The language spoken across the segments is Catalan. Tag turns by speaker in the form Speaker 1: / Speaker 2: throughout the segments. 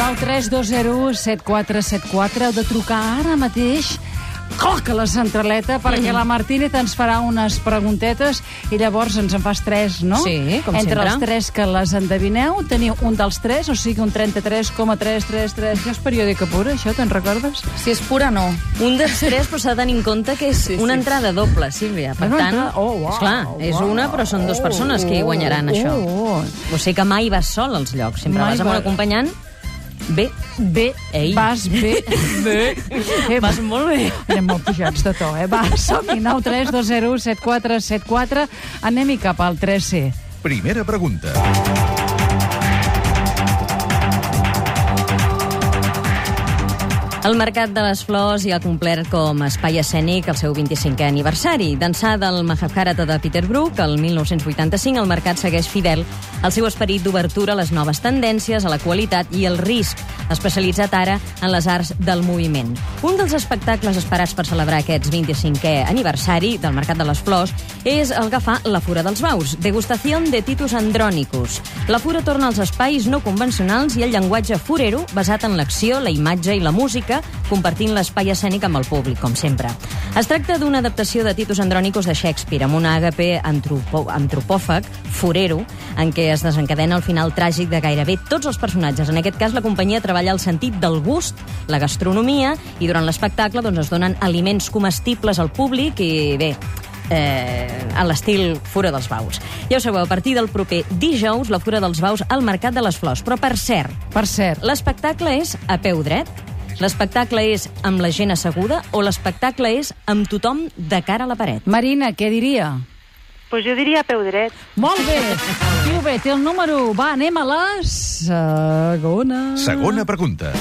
Speaker 1: al 3201-7474. Heu de trucar ara mateix cloc a la centraleta perquè la Martínez ens farà unes preguntetes i llavors ens en fas tres, no?
Speaker 2: Sí, com
Speaker 1: Entre
Speaker 2: sempre.
Speaker 1: els tres que les endevineu teniu un dels tres, o sigui un 33,333. Ja és periòdica pura, això, te'n recordes?
Speaker 2: Si és pura, no.
Speaker 3: Un dels tres, però s'ha de tenir en compte que és sí, una
Speaker 2: sí.
Speaker 3: entrada doble, Sílvia. Per
Speaker 1: Una
Speaker 3: tant,
Speaker 1: entrada- oh, uau,
Speaker 3: esclar, és
Speaker 1: uau,
Speaker 3: una, però són dues
Speaker 1: oh,
Speaker 3: persones que hi guanyaran,
Speaker 1: oh,
Speaker 3: això.
Speaker 1: oh.
Speaker 3: O sigui que mai vas sol als llocs, sempre
Speaker 1: Mai
Speaker 3: vas amb un
Speaker 1: va-
Speaker 3: acompanyant. Bé,
Speaker 1: Bé,
Speaker 3: Ei.
Speaker 1: vas bé. bé. Eh,
Speaker 3: vas molt bé.
Speaker 1: Anem molt pujats de to, eh? Va, som-hi, 9 3 2 0 7 4 7 4. Anem-hi cap al 3C.
Speaker 4: Primera pregunta.
Speaker 3: El Mercat de les Flors ja ha complert com a espai escènic el seu 25è aniversari. D'ençà del Mahabharata de Peter Brook, el 1985 el mercat segueix fidel al seu esperit d'obertura a les noves tendències, a la qualitat i al risc, especialitzat ara en les arts del moviment. Un dels espectacles esperats per celebrar aquest 25è aniversari del Mercat de les Flors és el que fa La Fura dels Baus, degustació de Titus Andronicus. La Fura torna als espais no convencionals i el llenguatge forero basat en l'acció, la imatge i la música, compartint l'espai escènic amb el públic, com sempre. Es tracta d'una adaptació de Titus Andronicus de Shakespeare, amb un àgape antropo antropòfag, forero, en què es desencadena el final tràgic de gairebé tots els personatges. En aquest cas, la companyia treballa el sentit del gust, la gastronomia, i durant l'espectacle doncs, es donen aliments comestibles al públic i, bé, eh, a l'estil Fura dels Baus. Ja ho sabeu, a partir del proper dijous, la Fura dels Baus al Mercat de les Flors. Però, per cert,
Speaker 1: Per cert,
Speaker 3: l'espectacle és a peu dret? L'espectacle és amb la gent asseguda o l'espectacle és amb tothom de cara a la paret?
Speaker 1: Marina, què diria?
Speaker 5: Pues jo diria peu dret.
Speaker 1: Molt bé, diu bé, té el número. Va, anem a la segona.
Speaker 4: Segona pregunta.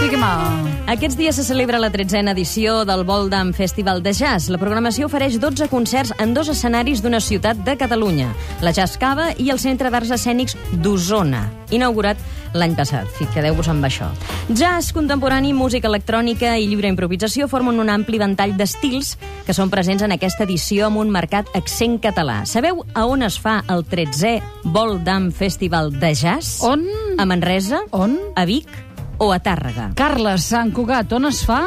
Speaker 1: Digue'm.
Speaker 3: Aquests dies se celebra la tretzena edició del Voldam Festival de Jazz. La programació ofereix 12 concerts en dos escenaris d'una ciutat de Catalunya, la Jazz Cava i el Centre d'Arts Escènics d'Osona, inaugurat l'any passat. Fi- Quedeu-vos amb això. Jazz, contemporani, música electrònica i lliure improvisació formen un ampli ventall d'estils que són presents en aquesta edició amb un marcat accent català. Sabeu a on es fa el 13è Voldam Festival de Jazz?
Speaker 1: On?
Speaker 3: A Manresa?
Speaker 1: On?
Speaker 3: A Vic? o a Tàrrega.
Speaker 1: Carles, Sant Cugat, on es fa?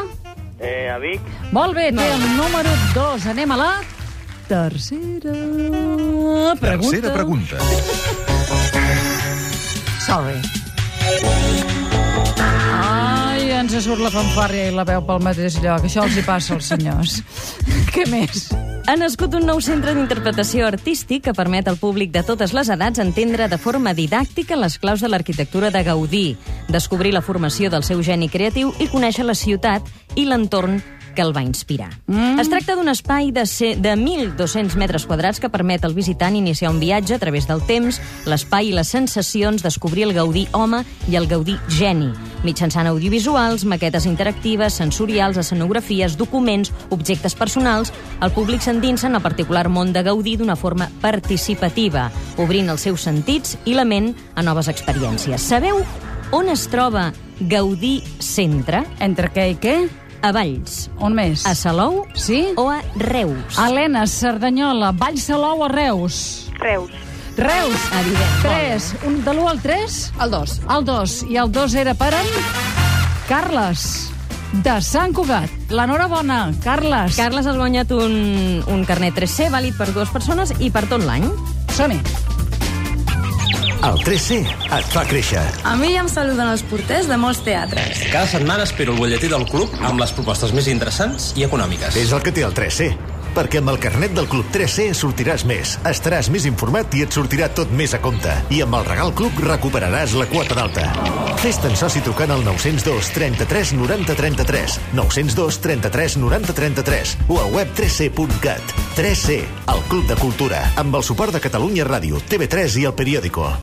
Speaker 6: Eh, a Vic,
Speaker 1: Molt bé, té el número 2. Anem a la tercera pregunta.
Speaker 4: Tercera pregunta.
Speaker 1: Sorry. Ai, ens surt la fanfàrria i la veu pel mateix lloc. Això els hi passa als senyors. Què més?
Speaker 3: Ha nascut un nou centre d'interpretació artístic que permet al públic de totes les edats entendre de forma didàctica les claus de l'arquitectura de Gaudí, descobrir la formació del seu geni creatiu i conèixer la ciutat i l'entorn que el va inspirar. Mm. Es tracta d'un espai de, ce- de 1.200 metres quadrats que permet al visitant iniciar un viatge a través del temps, l'espai i les sensacions, descobrir el Gaudí home i el Gaudí geni, mitjançant audiovisuals, maquetes interactives, sensorials, escenografies, documents, objectes personals, el públic s'endinsa en el particular món de Gaudí d'una forma participativa, obrint els seus sentits i la ment a noves experiències. Sabeu on es troba Gaudí Centre?
Speaker 1: Entre què i què?
Speaker 3: A Valls,
Speaker 1: On més?
Speaker 3: a Salou
Speaker 1: Sí?
Speaker 3: o a Reus.
Speaker 1: Helena, Cerdanyola, Vall Salou a Reus.
Speaker 5: Reus.
Speaker 1: Reus.
Speaker 3: Evident.
Speaker 1: 3. Un, de l'1 Ah, al 3?
Speaker 2: El dos.
Speaker 1: El 2. I el 2 era per en... Carles, de Sant Cugat. L'enhorabona, Carles. Car
Speaker 3: Carles has guanyat un, un carnet 3C vàlid per dues persones i per tot l'any.
Speaker 1: Som-hi.
Speaker 7: El 3C et fa créixer.
Speaker 2: A mi ja em saluden els porters de molts teatres.
Speaker 8: Cada setmana espero el butlletí del club amb les propostes més interessants i econòmiques.
Speaker 7: És el que té el 3C. Perquè amb el carnet del Club 3C sortiràs més, estaràs més informat i et sortirà tot més a compte. I amb el Regal Club recuperaràs la quota d'alta. Fes-te'n soci trucant al 902 33 90 33, 902 33 90 33 o a web 3C.cat. 3C, el Club de Cultura, amb el suport de Catalunya Ràdio, TV3 i El Periòdico.